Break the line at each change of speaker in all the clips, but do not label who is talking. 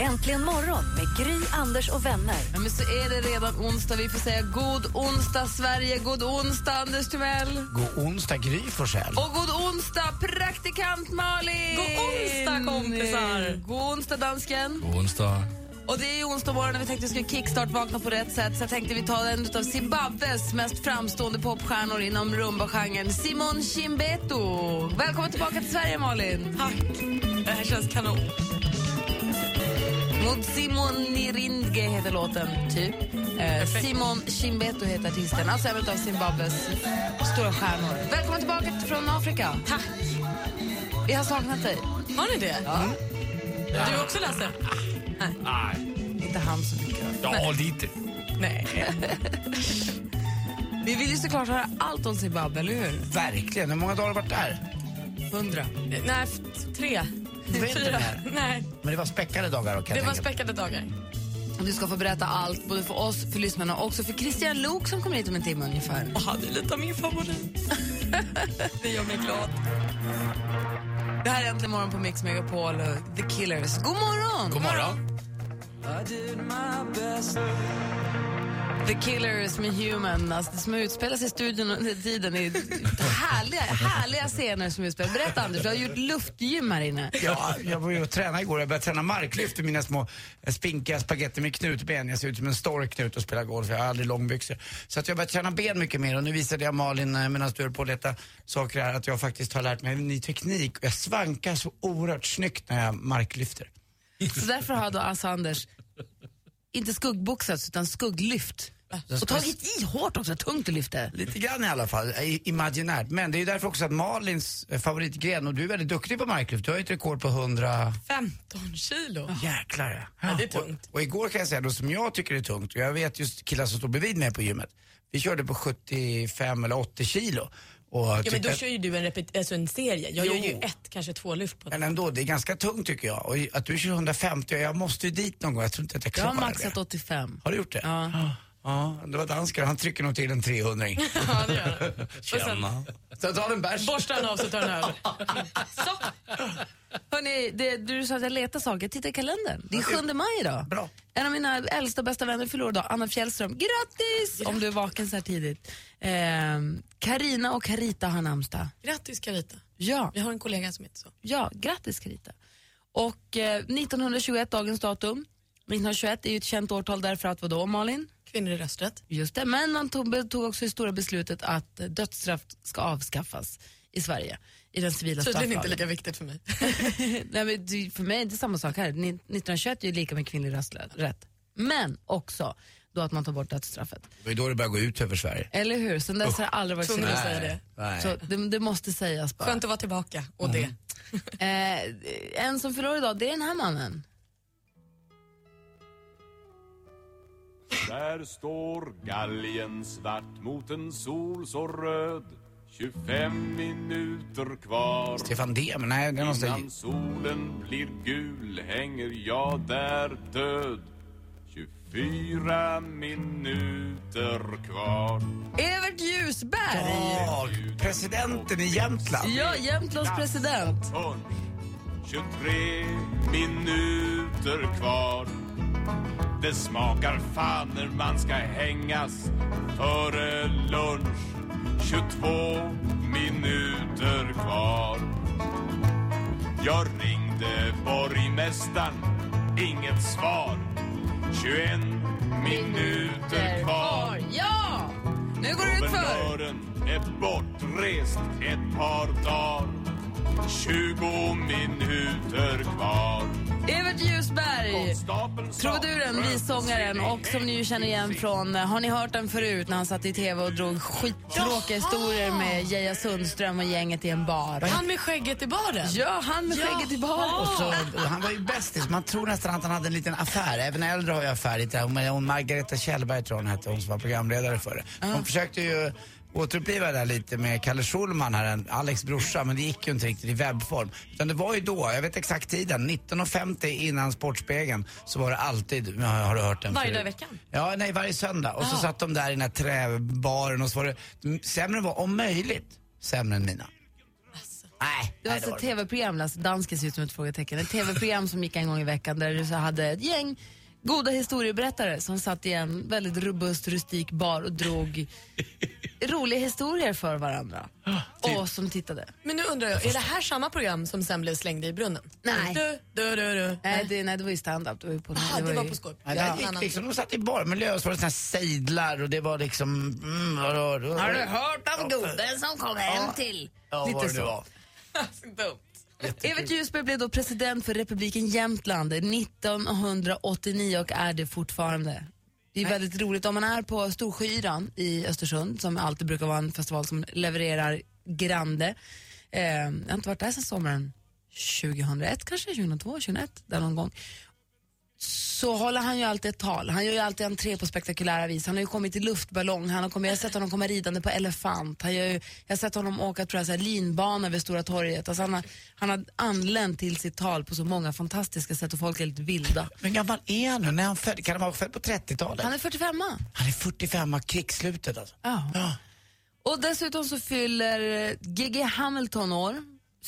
Äntligen morgon med Gry, Anders och vänner.
Ja, men så är det redan onsdag. Vi får säga god onsdag, Sverige. God onsdag, Anders Timell.
God onsdag, Gry Forssell.
Och god onsdag, praktikant Malin!
God onsdag, kompisar.
God onsdag, dansken.
God onsdag.
Och det är ju onsdag morgon och vi tänkte vi skulle kickstart vakna på rätt sätt. Så jag tänkte vi tar en av Zimbabwes mest framstående popstjärnor inom rumba-genren, Simon Chimbeto. Välkommen tillbaka till Sverige, Malin.
Tack. Det här känns kanon.
Mot Simon Nirindge heter låten, typ. Eh, Simon Chimbeto heter artisten, alltså en av Zimbabwes stora stjärnor. Välkommen tillbaka från Afrika.
Tack.
Vi har saknat dig.
Har ni det?
Ja.
Du också, Lasse?
Nej.
Inte han så mycket.
Ja, lite.
Nej.
Vi vill ju såklart höra allt om Zimbabwe, eller hur?
Verkligen. Hur många dagar har du varit där?
Hundra.
Nej, f- tre.
var inte
Fyra.
där.
Nej,
Men det var späckade dagar. då, Kan
det
jag
var
tänka mig.
späckade dagar.
Du ska få berätta allt, både för oss, för lyssnarna och också för Christian Lok som kommer hit om en timme ungefär.
Och hade lite av min favorit. det gör mig glad.
Det här är Äntligen morgon på Mix Megapol och The Killers. God morgon!
God morgon.
The Killers med Human, alltså det som utspelar sig i studion under tiden är härliga, härliga scener som utspelar Berätta Anders, du har gjort luftgym här inne.
Ja, jag var ju och tränade igår. Jag började träna marklyft i mina små eh, spinkiga spagetti med knutben. Jag ser ut som en stork nu ute och spelar golf. Jag har aldrig långbyxor. Så att jag började träna ben mycket mer och nu visade jag Malin eh, medan du höll på att leta saker här att jag faktiskt har lärt mig en ny teknik. Jag svankar så oerhört snyggt när jag marklyfter.
Så därför har då alltså Anders inte skuggboxats utan skugglyft. Och tagit i hårt också, tungt att lyfta.
Lite grann i alla fall, i- imaginärt. Men det är ju därför också att Malins eh, favoritgren, och du är väldigt duktig på marklyft, du har ju ett rekord på 100...
15 kilo.
Jäklar
Ja, det är tungt.
Och, och igår kan jag säga då som jag tycker är tungt, och jag vet just killar som står bredvid mig på gymmet, vi körde på 75 eller 80 kilo. Och typ
Ja, men
tyckte
då
att-
kör ju du en, repet- alltså en serie. Jag
Jo.
gör ju ett, kanske två lyft på det.
men ändå, det är ganska tungt tycker jag. Och i- att du kör 150, jag måste ju dit någon gång, jag tror inte att jag
Jag
klarar
har maxat
det.
85.
Har du gjort det?
Ja.
Ja, det var dansken, han trycker nog till en 300
Ja, det gör jag. Och sen
Så ta en bärs.
borstar han av så tar han över. Så.
Hörrni, det, du sa att jag letar saker. Titta i kalendern. Det är 7 maj idag.
Bra.
En av mina äldsta och bästa vänner fyller år idag, Anna Fjällström. Grattis! Om du är vaken så här tidigt. Ehm, Karina och Carita har namnsdag.
Grattis Carita.
Ja,
Vi har en kollega som heter så.
ja, grattis Carita. Och eh, 1921, dagens datum. 1921 är ju ett känt årtal därför att vadå Malin?
Kvinnor i rösträtt.
Just det, men man tog, tog också det stora beslutet att eh, dödsstraff ska avskaffas i Sverige, i den civila
Tydligen inte
strafflagen.
lika viktigt för mig.
Nej, men det- för mig är det samma sak här. Ni- 1921 är ju lika med kvinnlig rösträtt. Men också då att man tar bort dödsstraffet.
Det var ju då det började gå ut över Sverige.
Eller hur? Sen dess har det aldrig varit
Tvungen att
så-
säga det.
Nej.
Så det, det måste sägas bara.
Skönt att vara tillbaka och
Mm.
det.
Eh, en som förlorar idag, det är den här mannen.
Där står galgen svart mot en sol så röd 25 minuter kvar
Stefan Dem? Nej, det är någonstans...
Innan solen blir gul hänger jag där död 24 minuter kvar
Evert Ljusberg!
Ja, presidenten i Jämtland.
Ja, Jämtlands president.
23 minuter kvar Det smakar fan när man ska hängas före lunch 22 minuter kvar Jag ringde borgmästaren, inget svar 21 minuter kvar
Ja! Nu går det utför!
Guvernören är bortrest ett par dagar 20 minuter kvar
Evert Ljusberg!
Konstapeln sa-
Trubaduren, vissångaren och som ni ju känner igen från, eh, har ni hört den förut när han satt i tv och drog skittråkiga historier med Geja Sundström och gänget i en bar?
Han med skägget i baren.
Ja, han med skägget i Alltså, bar.
Och så, han var ju bästis. Man tror nästan att han hade en liten affär. Även äldre har ju affär. lite. Hon, hon Margareta Kjellberg tror jag hon hette, hon som var programledare för det. Hon försökte ju återuppliva det där lite med Kalle Schulman här, en- Alex brorsa, men det gick ju inte riktigt i webbform. Utan det var ju då, jag vet exakt tiden, 19.50 innan Sportspegeln så var det alltid, ja, har du hört den
Varje
förut?
dag i veckan?
Ja, nej varje söndag. Och så
Ah.
satt de där i den här träbaren och så var det, m- sämre var om möjligt sämre än mina. Nej,
Det var
nej, det
alltså
var
ett
det.
tv-program, Lasse Dansken ser ut som ett frågetecken. Ett tv-program som gick en gång i veckan där du så hade ett gäng goda historieberättare som satt i en väldigt robust, rustik bar och drog roliga historier för varandra. Och som tittade.
Men nu undrar jag, är det här samma program som sen blev slängda i brunnen?
Nej.
Du, du, du, du.
Nej, Eh, det, nej, det var ju stand-up. Det var ju på,
Ah, det var
ju-
på skoj.
Nej, det gick liksom, de satt i barmiljö och så var det såna här sejdlar och det var liksom... Mm, vad var det?
Har du hört om gubben som kom hem till?
Ja,
Lite
vad det
så.
var.
Evert Ljusberg blev då president för republiken Jämtland 1989 och är det fortfarande. Det är väldigt roligt. Om man är på Storsjöyran i Östersund, som alltid brukar vara en festival som levererar grande. Eh, jag har inte varit där sedan sommaren 2001, kanske 2002, 2001, där någon gång. Så håller han ju alltid ett tal. Han gör ju alltid entré på spektakulära vis. Han har ju kommit i luftballong, han har kommit, jag har sett honom komma ridande på elefant. Han gör ju, jag har sett honom åka tror jag, så här, linbana över Stora torget. Alltså, han, har, han har anlänt till sitt tal på så många fantastiska sätt och folk är lite vilda.
Men gammal är han nu? När är han född? Kan han vara född på 30-talet?
Han är 45
Han är 45, av krigsslutet alltså.
Ja. Och dessutom så fyller eh, Gigi Hamilton år,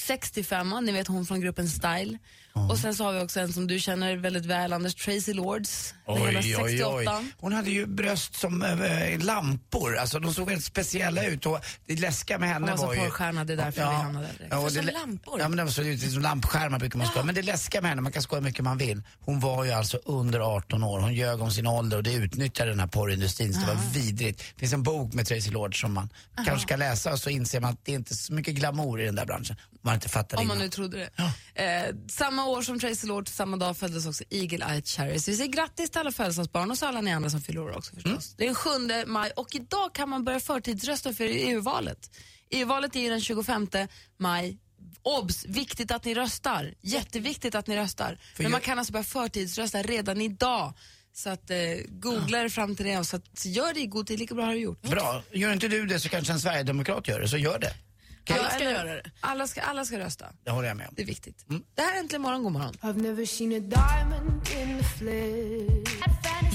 65 ni vet hon från gruppen Style. Och sen så har vi också en som du känner väldigt väl, Anders Tracy Lords, den gamla 68
Hon hade ju bröst som eh, lampor. Alltså de såg väldigt speciella ut och det läskiga med henne
Hon var så
var ju...
porrstjärna, det är därför vi hamnade där.
och
Som
det-
lampor.
Ja men de såg ut som lampskärmar brukar man skoja. Men det läskiga med henne, man kan skoja hur mycket man vill. Hon var ju alltså under 18 år. Hon ljög om sin ålder och det utnyttjade den här porrindustrin. Så det var vidrigt. Det finns en bok med Tracy Lord som man kanske ska läsa och så inser man att det är inte så mycket glamour i den där branschen. Om man inte fattar det
Om man
innan.
nu trodde det. Eh, samma år som Tracy Lord, samma dag föddes också Eagle Eye Cherry. Så vi säger grattis till alla födelsedagsbarn och så alla ni andra som fyller år också förstås.
Mm.
Det är den 7 maj och idag kan man börja förtidsrösta för EU-valet. EU-valet är ju den 25 maj. Obs! Viktigt att ni röstar. Jätteviktigt att ni röstar. Men
jag-
man kan alltså börja förtidsrösta redan idag. Så att eh, googla er fram till det och så att, så gör det i god tid. Lika bra har du gjort.
Bra, gör inte du det så kanske en sverigedemokrat gör det, så gör det.
Alla ska
eller-
göra det. Mm.
Alla ska, alla ska rösta.
Det håller jag med om.
Det är viktigt. Det här är Äntligen morgon, god morgon.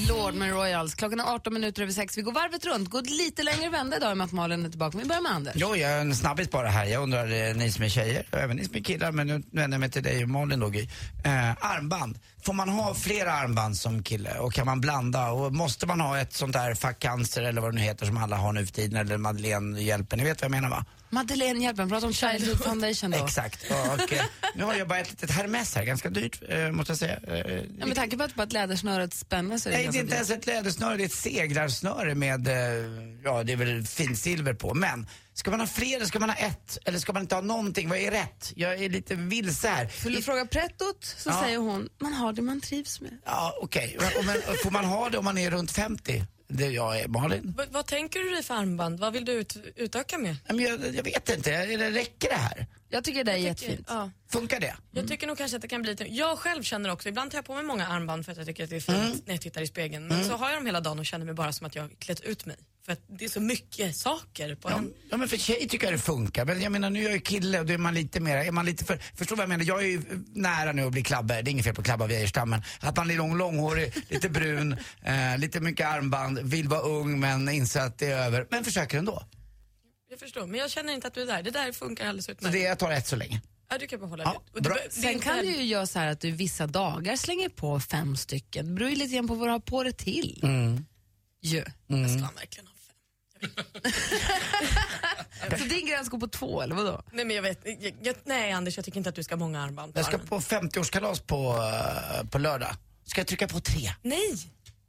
Lord med Royals. Klockan är 18 minuter över 6. Vi går varvet runt. Går lite längre vända idag i och med att Malin är tillbaka. Men vi börjar med Anders.
Jo, jag är en snabbis bara här. Jag undrar, eh, ni som är tjejer, och även ni som är killar, men nu vänder jag mig till dig och Malin då, Gry. eh, Armband. Får man ha flera armband som kille? Och kan man blanda? Och måste man ha ett sånt där fuck cancer eller vad det nu heter som alla har nu för tiden? Eller Madeleine hjälper. Ni vet vad jag menar va?
Madeleine, hjälp mig. Prata om Childhood Foundation då.
Exakt. Ja, Och, eh, nu har jag bara ett litet Hermes här, ganska dyrt eh, måste jag säga. Eh,
Ja, med tanke på att bara ett lädersnöre spänner så är Alltså, det
Nej, det
ganska
är inte ens ett lädersnöre, det är ett seglarsnöre med, eh, ja det är väl fint silver på. Men ska man ha flera, ska man ha ett eller ska man inte ha någonting? Vad är rätt? Jag är lite vilse här.
dyrt. Vill du fråga prettot så
Ja.
säger hon, man har det man trivs med.
Ja, okej. Och men, Får man ha det om man är runt 50? Det jag är, Malin?
Vad- vad tänker du dig för armband? Vad vill du ut, utöka med?
Nej, men Jag, jag vet inte, Eller räcker det här?
Jag tycker det är jättefint.
Ja.
Funkar det?
Jag tycker nog kanske att det kan bli lite... Jag själv känner också, ibland tar jag på mig många armband för att jag tycker att det är fint
Mm.
när jag tittar i spegeln. Men så har jag dem hela dagen och känner mig bara som att jag har klätt ut mig. För att det är så mycket saker på en.
Ja men för tjej tycker jag det funkar. Men jag menar nu är jag ju kille och då är man lite mer, är man lite för, förstår vad jag menar? Jag är ju nära nu att bli klabbe, det är inget fel på klabba Wäjerstam men att man är lång, långhårig, lite brun, eh, lite mycket armband, vill vara ung men inser att det är över. Men försöker ändå.
Jag förstår, men jag känner inte att du är där. Det där funkar alldeles
Så
utmärkt.
det, jag tar ett så länge.
Ja, du kan behålla
Ja,
det. Och
bra.
det, be- det är
Sen
inte
kan du
heller-
ju göra så här att du vissa dagar slänger på fem stycken. Det beror ju lite grann på vad du har på det till.
Mm.
Ju.
Jag ska verkligen ha fem.
Mm.
Så din gräns går på två, eller vadå?
Nej, men jag vet, jag, jag, nej Anders, jag tycker inte att du ska ha många armband på
Jag ska
armen.
på 50-årskalas på, eh, på lördag. Ska jag trycka på tre?
Nej!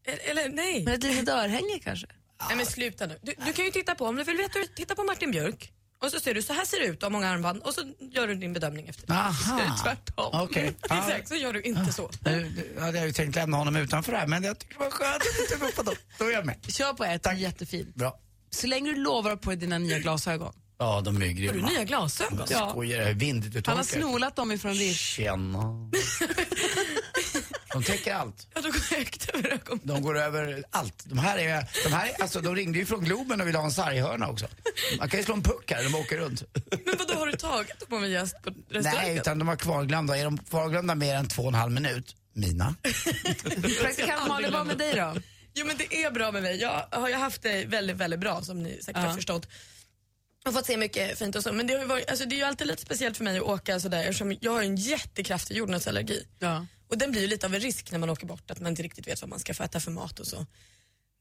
E- Eller nej.
Men ett litet örhänge kanske?
Nej men sluta nu. Du, du kan ju titta på, om du vill veta, titta på Martin Björk och så ser du, så här ser det ut av många armband och så gör du din bedömning efter det.
Aha.
Så är det tvärtom.
Okej.
Exakt, så gör du inte så.
Nu nu hade jag ju tänkt lämna honom utanför det här men jag tycker det var skönt att du tog upp honom. Då är jag med.
Kör på ett, jättefin.
Bra.
Så länge du lovar på dig dina nya glasögon.
Ja, de är ju
Har du
grymma.
nya glasögon?
Skojar, det är vindigt du
Han har
torkar.
snolat dem ifrån Rish.
Tjena. De täcker allt.
Ja, då går jag högt över ögonbrynen.
De går över allt. De här är, de här är, alltså de ringde ju från Globen och ville ha en sarghörna också. Man kan ju slå en puck här, de åker runt.
Men vadå, har du tagit dem om en gäst på restaurangen?
Nej, utan de var kvarglömda. Är de kvarglömda mer än två och en halv minut, Mina?
Praktikant Malin, vad med dig då?
Jo men det är bra med mig. Jag har ju haft det väldigt, väldigt bra som ni säkert har förstått. Jag har fått se mycket fint och så. Men det, har ju varit, alltså, det är ju alltid lite speciellt för mig att åka sådär eftersom jag har ju en jättekraftig jordnötsallergi.
Ja.
Och den blir ju lite av en risk när man åker bort att man inte riktigt vet vad man ska få äta för mat och så.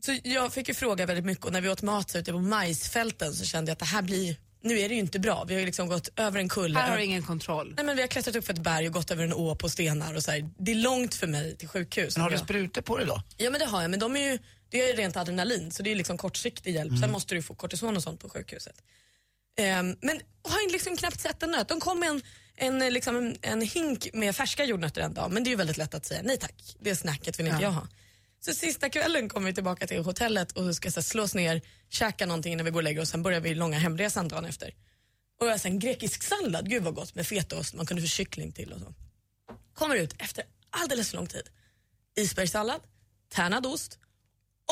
Så jag fick ju fråga väldigt mycket och när vi åt mat så ute på majsfälten så kände jag att det här blir, nu är det ju inte bra. Vi har ju liksom gått över en kulle.
Här har du ingen kontroll.
Nej men vi har klättrat upp för ett berg och gått över en å på stenar och så här. Det är långt för mig till sjukhus.
Men har du
Jag-
sprutor på dig då?
Ja men det har jag, men de är ju, det är ju rent adrenalin så det är ju liksom kortsiktig hjälp. Sen måste du ju få kortison och sånt på sjukhuset. Ehm, men har liksom knappt sett en nöt. De kom med en, en, eh, liksom en, en hink med färska jordnötter en dag men det är ju väldigt lätt att säga nej tack, det snacket vill inte jag ha. Så sista kvällen kommer vi tillbaka till hotellet och ska så här, slås ner, käka någonting innan vi går och lägger oss, sen börjar vi långa hemresan dagen efter. Och jag sen grekisk sallad, gud vad gott med fetaost, man kunde få kyckling till och så. Kommer ut efter alldeles för lång tid isbergssallad, tärnad ost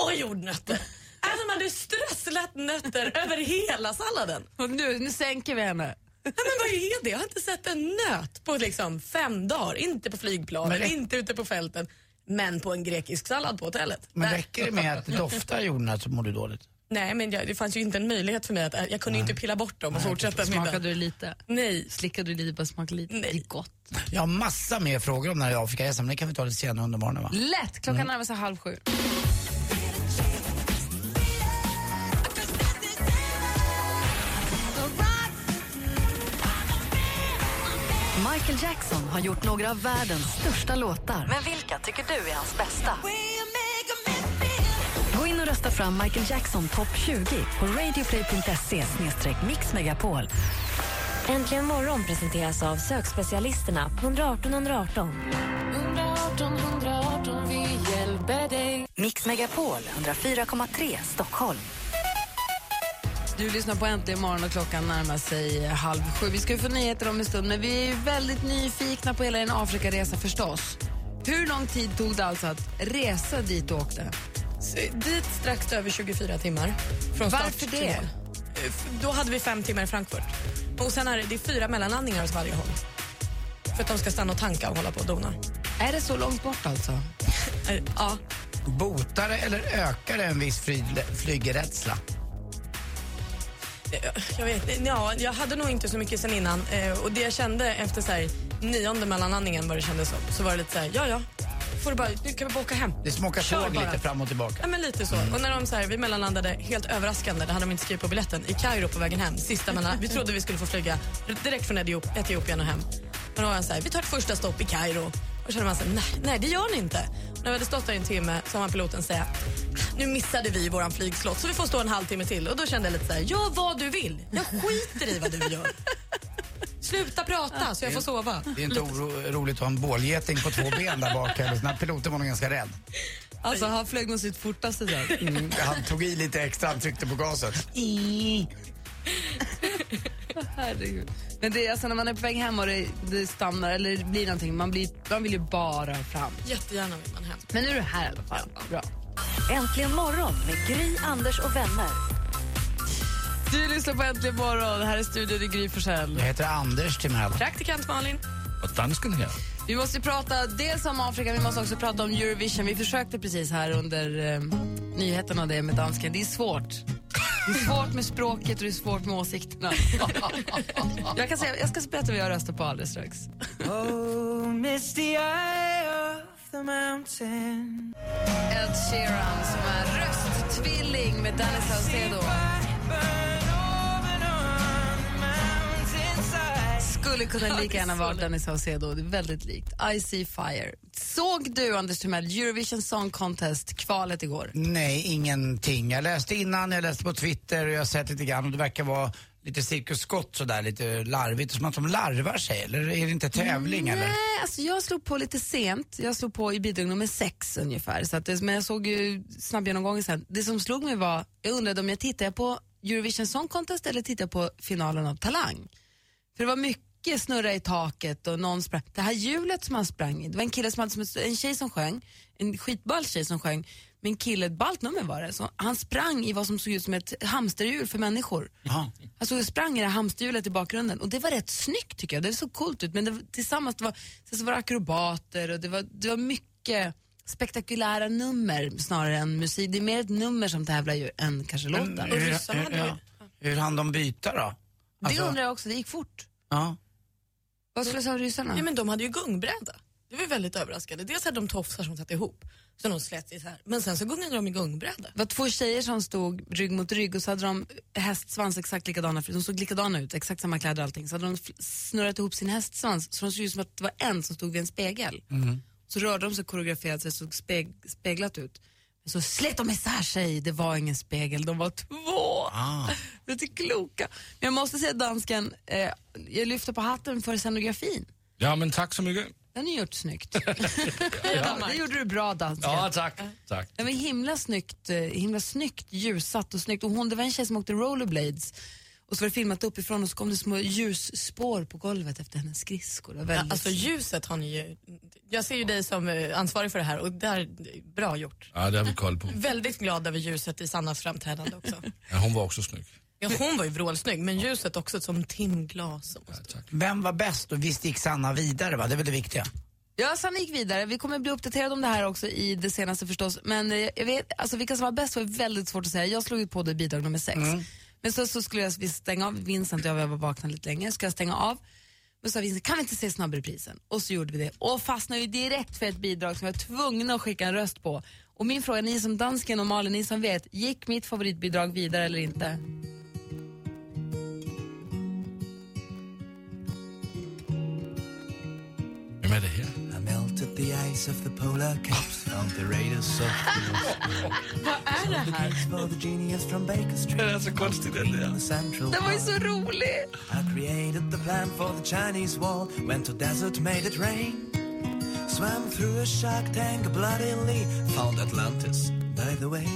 och jordnötter. Alltså man hade strösslat nötter över hela salladen.
Och nu, nu sänker vi henne.
Nej, men vad är det? Jag har inte sett en nöt på liksom fem dagar. Inte på flygplan,
Men det-
inte ute på fälten, men på en grekisk sallad på hotellet.
Men
Där-
räcker det med att det doftar jordnöt så mår du dåligt?
Nej, men jag, det fanns ju inte en möjlighet för mig att... Jag kunde ju inte pilla bort dem och fortsätta middagen.
Smakade du lite?
Nej.
Slickade du lite? Bara smakade lite?
Nej.
Det är gott.
Jag har massa mer frågor om den här Afrikaresan, men det kan vi ta lite senare under morgonen va?
Lätt! Klockan
Mm.
närmar sig halv sju.
Michael Jackson har gjort några av världens största låtar. Men vilka tycker du är hans bästa? Gå in och rösta fram Michael Jackson topp 20 på radioplay.se mixmegapol.
Äntligen morgon presenteras av sökspecialisterna på 118 118.
Mix Megapol 104,3 Stockholm.
Du lyssnar på Äntligen morgon och klockan närmar sig halv sju. Vi ska ju få nyheter om en stund, men vi är väldigt nyfikna på hela din Afrikaresa förstås. Hur lång tid tog det alltså att resa dit du åkte?
Så, dit strax över 24 timmar. Från start
Varför
till
det?
mål. Eh, f- Då hade vi fem timmar i Frankfurt. Och sen är det, det är fyra mellanlandningar åt varje håll. För att de ska stanna och tanka och hålla på och dona.
Är det så långt bort alltså?
Eh, Ja,
Botar det eller ökar det en viss fly- flygrädsla?
eh, jag vet ja, Jag hade nog inte så mycket sen innan. Eh, Och det jag kände efter så här, nionde mellanlandningen, vad det kändes som, så var det lite så här, ja ja, får du bara, nu kan vi bara åka hem.
Det smakar
Kör
tåg
bara.
lite fram och
Ja,
tillbaka.
men lite så. Och när de så här, vi mellanlandade, helt överraskande, det hade de inte skrivit på biljetten, i Kairo på vägen hem. Sista mellan, vi trodde vi skulle få flyga direkt från Etiop- Etiopien och hem. Men då var jag så här, vi tar ett första stopp i Kairo. Och kände man så här, nej, nej det gör ni inte. Och när vi hade stått där i en timme så har piloten säga, nu missade vi våran flygslott så vi får stå en halvtimme till. Och då kände jag lite så här, gör vad du vill. Jag skiter i vad du gör. Sluta prata så jag får sova.
Det är inte oro- roligt att ha en bålgeting på två ben där bak heller. så Den här piloten var nog ganska rädd.
Alltså, han flög nog sitt fortaste där.
Mm, han tog i lite extra, han tryckte på gasen.
Herregud. Men det är alltså när man är på väg hem och det, det stannar eller det blir någonting, man, blir, man vill ju bara fram.
Jättegärna vill man hem.
Men nu är du här i alla fall. Bra.
Äntligen morgon med Gry, Anders och vänner.
Du lyssnar på Äntligen morgon. Här är studion i Gry Forssell.
Jag heter Anders Timell.
Praktikant Malin.
Och dansken här.
Vi måste prata dels om Afrika, vi måste också prata om Eurovision. Vi försökte precis här under eh, nyheterna och det med dansken. Det är svårt. Det är svårt med språket och det är svårt med åsikterna. jag, kan säga, jag ska berätta vad jag röstar på alldeles strax. Ed Sheeran som är rösttvilling med Danny Saucedo. Skulle kunna lika gärna vara Danny Saucedo. Det är väldigt likt. I see fire. Såg du, Anders Timell, Eurovision Song Contest-kvalet igår?
Nej, ingenting. Jag läste innan, jag läste på Twitter och jag har sett lite grann och det verkar vara lite cirkus Scott sådär, lite larvigt. Som att de larvar sig, eller är det inte tävling eller?
Nej, alltså jag slog på lite sent. Jag slog på i bidrag nummer sex ungefär. Så att det, men jag såg ju snabbgenomgången sen. Det som slog mig var, jag undrade om jag tittade på Eurovision Song Contest eller tittade på finalen av Talang. För det var mycket hockey snurra i taket och någon sprang. Det här hjulet som han sprang i, det var en kille som hade som ett, en tjej som sjöng, en skitball tjej som sjöng, men en kille, ett ballt nummer var det, så han sprang i vad som såg ut som ett hamsterhjul för människor.
Ja.
Alltså jag sprang i det här hamsterhjulet i bakgrunden och det var rätt snyggt tycker jag. Det såg coolt ut men det, tillsammans det var, sen så var det akrobater och det var, det var mycket spektakulära nummer snarare än musik. Det är mer ett nummer som tävlar ju än kanske låten.
Men eh, Mm. hur, hur, hur, hur hann de byta då? alltså-
Det undrar jag också, det gick fort.
Ja.
Vad skulle jag säga om ryssarna?
Ja, men de hade ju gungbräda. Det var ju väldigt överraskande. Dels hade de tofsar som satt ihop, så de slät isär. Men sen så gungade de i gungbräda.
Det var två tjejer som stod rygg mot rygg och så hade de hästsvans exakt likadana, för de såg likadana ut, exakt samma kläder och allting. Så hade de fl- snurrat ihop sin hästsvans så de såg ut som att det var en som stod vid en spegel. Så rörde de sig koreograferat så det såg speg, speglat ut. Men så slet de isär sig, det var ingen spegel, de var två. Det är kloka. Men jag måste säga dansken, eh, jag lyfter på hatten för scenografin.
Ja, men tack så mycket.
Den är gjort snyggt. ja. Det gjorde du bra dansken.
Ja, tack. tack.
Det var himla snyggt, eh, himla snyggt ljussatt och snyggt. Och hon, det var en tjej som åkte rollerblades och så var det filmat uppifrån och så kom det små ljusspår på golvet efter hennes skridskor. Det var
Ja,
väldigt
alltså
snyggt.
ljuset har ni ju... Jag ser ju dig som eh, ansvarig för det här och där, bra gjort.
Ja, det har vi koll på.
Väldigt glad över ljuset i Sannas framträdande också.
Ja, hon var också snygg.
Ja, hon var ju vrålsnygg, men ljuset också som timglas.
Vem var bäst och visst gick Sanna vidare va? Det är väl det viktiga.
Ja, Sanna gick vidare. Vi kommer bli uppdaterade om det här också i det senaste förstås. Men eh, jag vet, alltså, vilka som var bäst var väldigt svårt att säga. Jag slog ju på det i bidrag nummer sex. Men så, så skulle jag visst stänga av. Vincent och jag var vakna lite länge. Ska jag stänga av? Men så sa Vincent, kan vi inte se snabbreprisen? Och så gjorde vi det. Och fastnade ju direkt för ett bidrag som jag var tvungen att skicka en röst på. Och min fråga, ni som dansken och Malin, ni som vet, gick mitt favoritbidrag vidare eller inte?
Vem är det här?
I melted the ice of the polar caps, found the radius of
Vad är det här?
for the genius from Baker Street. Det är så konstigt det där. Central
Det var ju så roligt!
I created the plan for the Chinese wall. Went to desert, made it rain. Swam through a shark tank bloodily. Found Atlantis, by the way.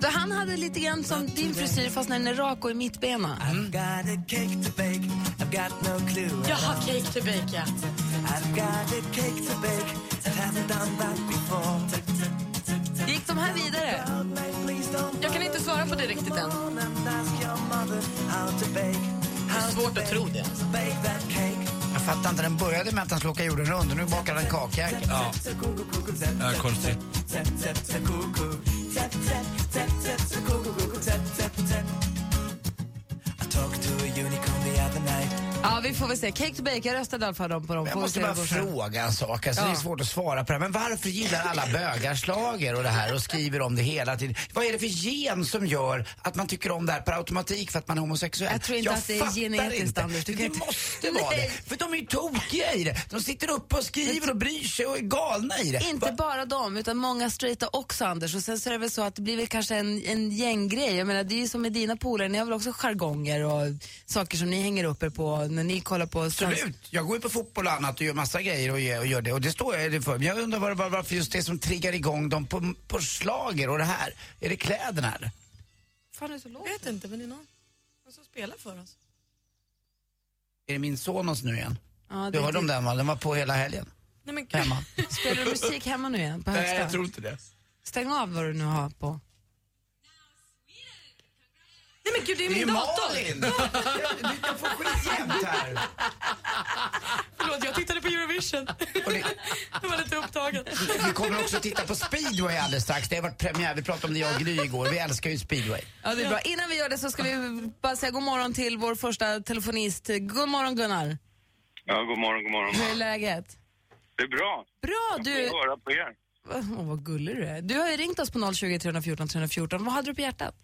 Så han hade lite grann som din frisyr fast när den är rak och i mittbena.
I've got a cake to bake. I've got no clue.
Jag har cake to bake, ja.
I've got a cake to bake. That hasn't done that before.
Gick de här vidare?
Jag kan inte svara på det riktigt än. Svårt att tro det.
Jag fattar inte, den började med att han skulle åka jorden runt och nu bakar han kakjäkel. Ja.
Ja, konstigt.
Ja, vi får väl se. Cake to bake, jag röstade i alla fall dem på dem.
Jag
Får
måste
vi se
bara
hur det går sen.
fråga en sak, alltså, det är
Ja.
svårt att svara på det här. Men varför gillar alla bögar slager och det här och skriver om det hela tiden? Vad är det för gen som gör att man tycker om det här per automatik för att man är homosexuell?
Jag tror inte att det är
fattar
genetiskt,
inte.
Anders. Du
Det,
kan inte-
måste vara
Nej.
det. För de är ju tokiga i det. De sitter uppe och skriver och bryr sig och är galna i det.
Inte
Va-
bara dem, utan många straighta också, Anders. Och sen så är det väl så att det blir väl kanske en, en gänggrej. Jag menar, det är ju som med dina polare, ni har väl också jargonger och saker som ni hänger upp er på när ni kollar på...
Absolut. Jag går ju på fotboll och annat och gör massa grejer och gör, och gör det. Och det står jag för. Men jag undrar var, var, varför just det som triggar igång dem på, på slager och det här. Är det kläderna eller?
Fan, det är så lågt.
Jag vet inte, men det är någon någon som spelar för oss.
Är det min Sonos nu igen?
Ja,
Du
det,
hörde om
det.
den va? Den var på hela helgen.
Nej, men gud.
Hemma.
Spelar du musik hemma nu igen? På högsta?
inte det.
Stäng av vad du nu har på.
Nej, men gud, det är
Det är ju
min dator!
Malin! Du kan få skit jämt här.
Förlåt, jag tittade på Eurovision.
Och det,
Jag var lite upptagen.
vi kommer också titta på speedway alldeles strax. Det har varit premiär. Vi pratade om det jag och Gry igår. Vi älskar ju speedway.
Ja, det är bra. Innan vi gör det så ska vi bara säga god morgon till vår första telefonist. God morgon Gunnar.
Ja, god morgon, god morgon.
Hur är läget?
Det är bra.
Bra,
Jag
du...
får höra på er.
Åh, vad gullig du är. Du har ju ringt oss på 020 314 314. Vad hade du på hjärtat?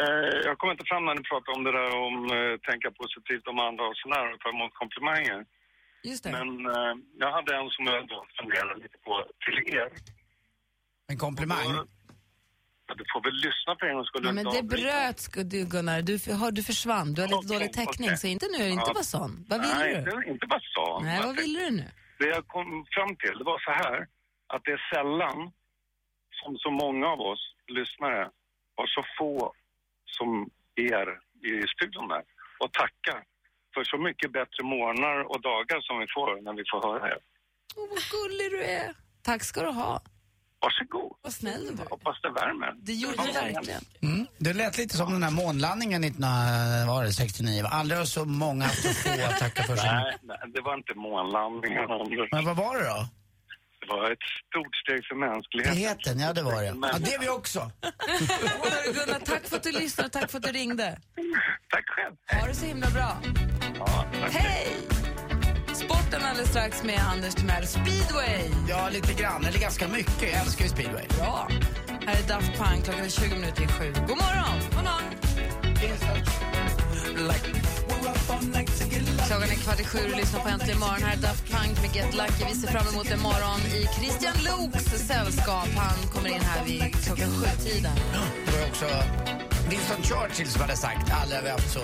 Eh, jag kommer inte fram när ni pratar om det där om eh, tänka positivt om andra och sådär och ta emot komplimanger.
Just det.
Men eh, jag hade en som jag då funderade lite på till er.
En komplimang.
Ja, Du får väl lyssna på en gång skulle
Ja, men det bröts du Gunnar. Du, f- hör, du försvann. Du har lite
Okej,
dålig täckning.
okej.
Så inte nu, inte
Ja.
vara sån. Vad vill
Nej,
du?
det, inte vad jag sa.
Nej, vad
Jag
vill du nu?
Det jag kom fram till, det var så här, att det är sällan som så många av oss lyssnare har så få som er i studion där och tacka för så mycket bättre morgnar och dagar som vi får när vi får höra er.
Åh, vad gullig du är. Tack ska du ha.
Varsågod.
Vad snäll du var.
Hoppas det värmer.
Det gjorde det verkligen.
Mm. Det lät lite som den där månlandningen 1969. Aldrig har så många haft så få att tacka för sig.
Nej, nej, det var inte månlandningen, Anders.
Men vad var det då?
Det var ett stort steg för mänskligheten.
Friheten, ja det var det. Ja, det är vi också.
Åh, Gunnar, tack för att du lyssnade och tack för att du ringde.
Tack själv.
Ha det så himla bra. Hej! Sporten alldeles strax med Anders Timell. Speedway!
Ja, lite grann. Eller ganska mycket. Jag älskar ju speedway.
Ja. Här är Daft Punk. Klockan är 20 minuter i sju. God morgon! God morgon! Klockan är kvart i sju och lyssnar på Äntligen morgon. Här är Daft Punk med Get Lucky. Vi ser fram emot en morgon i Christian Loks sällskap. Han kommer in här vid klockan sju-tiden.
Det var ju också Winston Churchill som hade sagt aldrig har vi haft så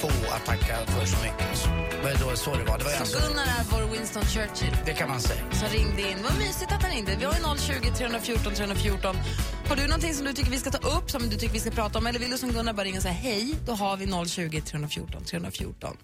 få att tacka för så mycket. Det var ju då så det var. Det var ju alltså,
Så Gunnar är vår Winston Churchill.
det kan man säga.
som ringde in. Vad mysigt att han ringde. Vi har ju 020 314 314. Har du någonting som du tycker vi ska ta upp, som du tycker vi ska prata om? Eller vill du som Gunnar bara ringa och säga hej? Då har vi 020 314 314.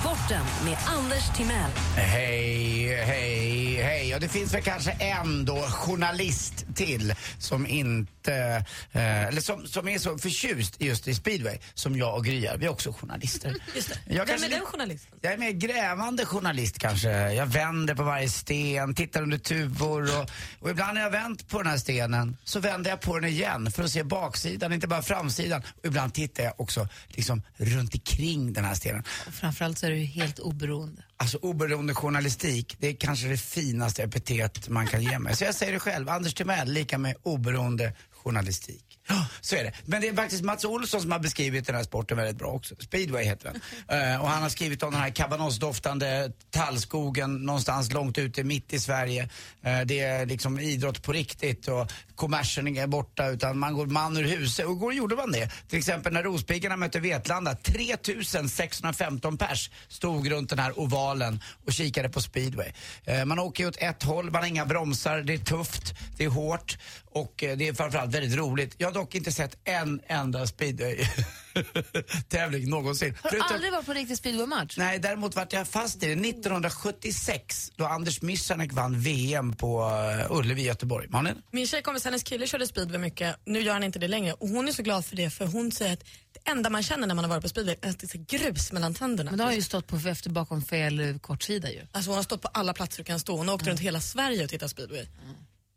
Sporten med Anders Timell.
Hej, hej, hej. Och det finns väl kanske en då journalist till som inte, eh, eller som, som är så förtjust just i speedway som jag och Gry är. Vi är också journalister. Just det. Jag
Vem
kanske
är den
li-
journalisten?
Jag är mer grävande journalist kanske. Jag vänder på varje sten, tittar under tuvor och, och ibland när jag vänt på den här stenen så vänder jag på den igen för att se baksidan, inte bara framsidan. Och ibland tittar jag också liksom runt omkring den här stenen.
Och framförallt så är du ju helt oberoende.
Alltså oberoende journalistik, det är kanske det finaste epitet man kan ge mig. Så jag säger det själv, Anders Timell lika med oberoende journalistik. Ja, så är det. Men det är faktiskt Mats Olsson som har beskrivit den här sporten väldigt bra också. Speedway heter den. Eh, och han har skrivit om den här kabanossdoftande tallskogen någonstans långt ute mitt i Sverige. Eh, det är liksom idrott på riktigt och kommersen är borta utan man går man ur huset. Och igår gjorde man det. Till exempel när Rospiggarna mötte Vetlanda. 3615 pers stod runt den här ovalen och kikade på speedway. Eh, Man åker ju åt ett håll, man har inga bromsar, det är tufft, det är hårt och eh, det är framförallt väldigt roligt. Jag har dock inte sett en enda speedway-tävling någonsin.
Har du
Förutom-
aldrig varit på en riktig speedwaymatch?
Nej, däremot vart jag fast i det 1976 då Anders Missanek vann VM på eh, Ullevi i Göteborg. Malin?
Min tjejkompis, hennes kille körde speedway mycket. Nu gör han inte det längre. Och hon är så glad för det för hon säger att det enda man känner när man har varit på speedway är att det är så grus mellan tänderna.
Men du har ju stått på efter bakom fel eh, kortsida ju.
Alltså hon har stått på alla platser du kan stå. Hon har åkt runt hela Sverige och tittat speedway.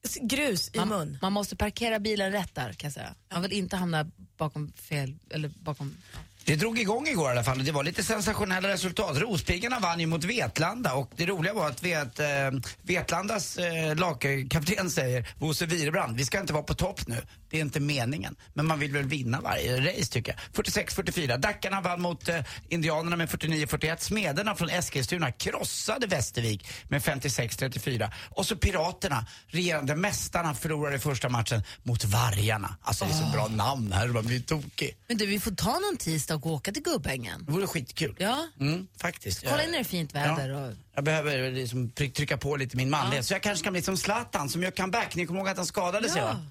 S- Grus i mun.
Man måste parkera bilen rätt där kan jag säga. Man vill inte hamna bakom fel, eller bakom...
Det drog igång igår i alla fall och det var lite sensationella resultat. Rospiggarna vann ju mot Vetlanda och det roliga var att vet, eh, Vetlandas eh, lagkapten säger, Bosse Wirebrand, vi ska inte vara på topp nu. Det är inte meningen. Men man vill väl vinna varje race tycker jag. 46-44. Dackarna vann mot eh, Indianerna med 49-41. Smederna från Eskilstuna krossade Västervik med 56-34. Och så Piraterna, regerande mästarna, förlorade i första matchen mot Vargarna. Alltså det är så bra namn här, man blir tokig.
Men du, vi får ta någon tisdag och åka till Gubbängen.
Det vore skitkul.
Ja.
Mm, faktiskt.
Kolla in när det är fint väder. Och...
Jag behöver liksom try- trycka på lite min manlighet. Så jag kanske kan bli som Zlatan som gör comeback. Ni kommer ihåg att han skadade sig va?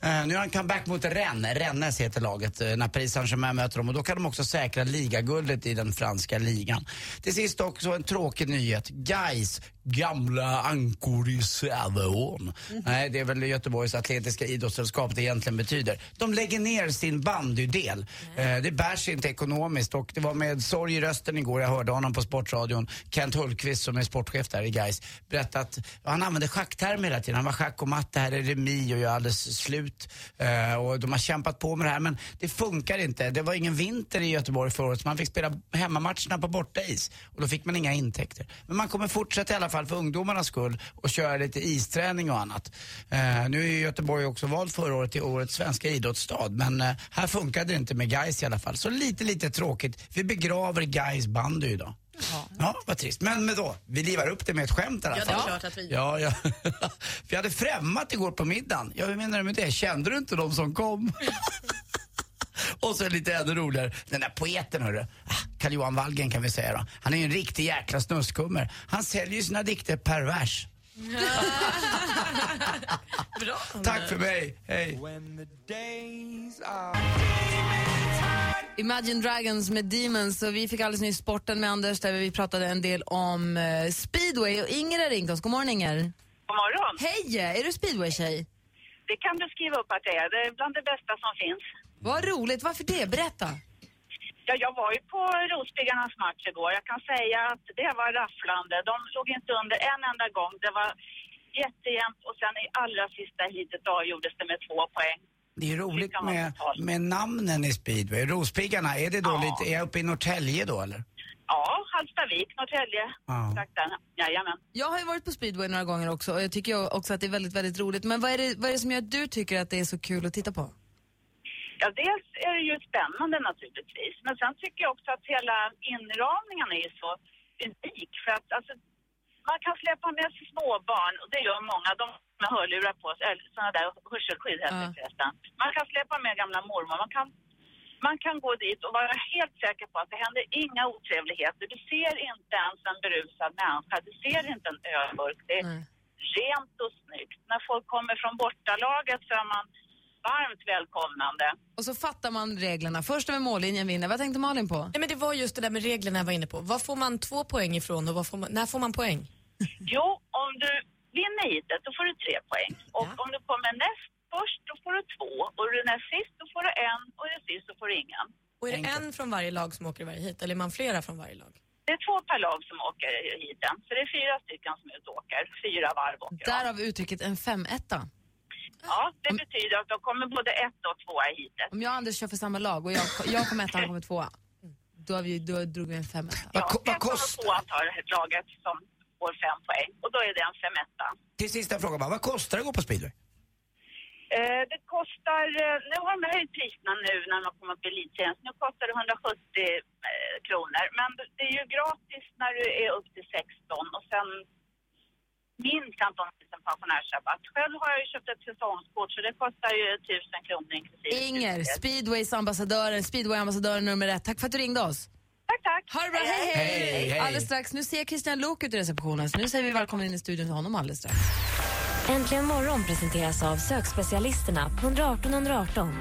Eh, nu har han comeback mot Rennes. Rennes heter laget. eh, när Paris Saint-Germain möter dem. Och då kan de också säkra ligaguldet i den franska ligan. Till sist också en tråkig nyhet. Guys gamla ankor i Säveån.
Mhm.
Nej, det är väl Göteborgs Atletiska Idrottssällskap det egentligen betyder. De lägger ner sin bandydel. Eh, det bärs inte ekonomiskt och det var med sorg i rösten igår jag hörde honom på Sportradion. Kent Hultqvist som är sportchef där i Gais berättade att han använde schacktermer hela tiden. Han var schack och matte, här är remi och jag är alldeles slut. Eh, och de har kämpat på med det här men det funkar inte. Det var ingen vinter i Göteborg förra året så man fick spela hemmamatcherna på bortais och då fick man inga intäkter. Men man kommer fortsätta i alla fall för ungdomarnas skull och köra lite isträning och annat. Eh, nu är ju Göteborg också vald förra året till årets svenska idrottsstad men eh, här funkade det inte med Gais i alla fall. Så lite, lite tråkigt. Vi begraver Gais bandy idag. Ja. vad trist. Men, men då, vi livar upp det med ett skämt i alla
Ja, det
fall.
är klart att vi gör.
Ja, ja. Vi hade främmat igår på middagen. Ja, hur menar du med det? Kände du inte de som kom? Och så lite ännu roligare, den där poeten hörru. Ah, Carl Johan Wallgren kan vi säga då. Han är ju en riktig jäkla snuskummer. Han säljer ju sina dikter pervers. Tack för mig, hej.
Imagine Dragons med Demons och vi fick alldeles nyss sporten med Anders där vi pratade en del om eh, speedway och Inger har ringt oss. God morgon Inger.
God morgon.
Hej, är du speedway-tjej?
Det kan du skriva upp att det är. Det är bland det bästa som finns.
Vad roligt, varför det? Berätta.
Ja, jag var ju på Rospiggarnas match igår. Jag kan säga att det var rafflande. De låg inte under en enda gång. Det var jättejämnt och sen i allra sista heatet avgjordes det med två poäng.
Det är roligt med, med namnen i speedway. Rospiggarna, är det då lite, är jag uppe i Norrtälje då eller?
Ja, Hallstavik, Norrtälje,
Ja.
trakten. Jajamän.
Jag har ju varit på speedway några gånger också och jag tycker ju också att det är väldigt, väldigt roligt. Men vad är, det, vad är det som gör att du tycker att det är så kul att titta på?
Ja, dels är det ju spännande naturligtvis, men sen tycker jag också att hela inramningen är ju så unik för att alltså, man kan släppa med sig småbarn och det gör många, de med hörlurar på sig, eller sådana där hörselskydd heter det förresten. Man kan släppa med gamla mormor, man kan, man kan gå dit och vara helt säker på att det händer inga otrevligheter. Du ser inte ens en berusad människa, du ser inte en ölburk. Det är rent och snyggt. När folk kommer från bortalaget så är man varmt välkomnande.
Och så fattar man reglerna. Först över mållinjen vinner. Vad tänkte Malin på?
Nej, men det var just det där med reglerna jag var inne på. Var får man två poäng ifrån och var får man, när får man poäng?
Jo, om du vinner heatet då får du tre poäng. Och om du kommer näst först då får du två. Och är du näst sist då får du en och är du sist då får du ingen.
Och är det en från varje lag som åker i varje hit eller är man flera från varje lag?
Det är två per lag som åker heaten. Så det är fyra stycken som är ute och åker. Fyra varv åker de.
Därav uttrycket en femetta.
Ja, det betyder att de kommer både ett och två i heatet.
Om jag och Anders kör för samma lag och jag, jag kommer etta och han kommer tvåa, då, har vi, då drog vi en femetta.
Ja, ett av de tvåa tar laget som får fem poäng. Och då är det en femetta.
Till sista frågan bara, vad kostar det att gå på speedway?
Eh, det kostar, eh, nu har de höjt priserna nu när man kommer upp i elitserien, så nu kostar det 170 eh, kronor. Men det är ju gratis när du är upp till 16 och sen minst 15 000 pensionärsrabatt. Själv har jag ju köpt ett säsongskort så det kostar ju 1000 kronor inklusive.
Inger,
utflykt.
speedways ambassadören, speedway-ambassadören nummer ett. Tack för att du ringde oss.
Tack, tack.
Ha det bra, hej, hej.
Hej, hej.
Alldeles strax, nu ser jag Christian Lok ut i receptionen, så nu säger vi välkommen in i studion till honom alldeles strax.
Äntligen morgon presenteras av sökspecialisterna på 118 118.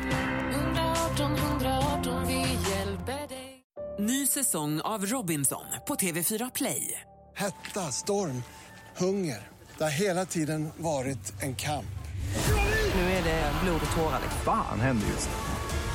118 118, vi hjälper dig.
Ny säsong av Robinson på TV4 Play.
Hetta, storm, hunger. Det har hela tiden varit en kamp.
Nu är det blod och tårar.
Fan händer just nu.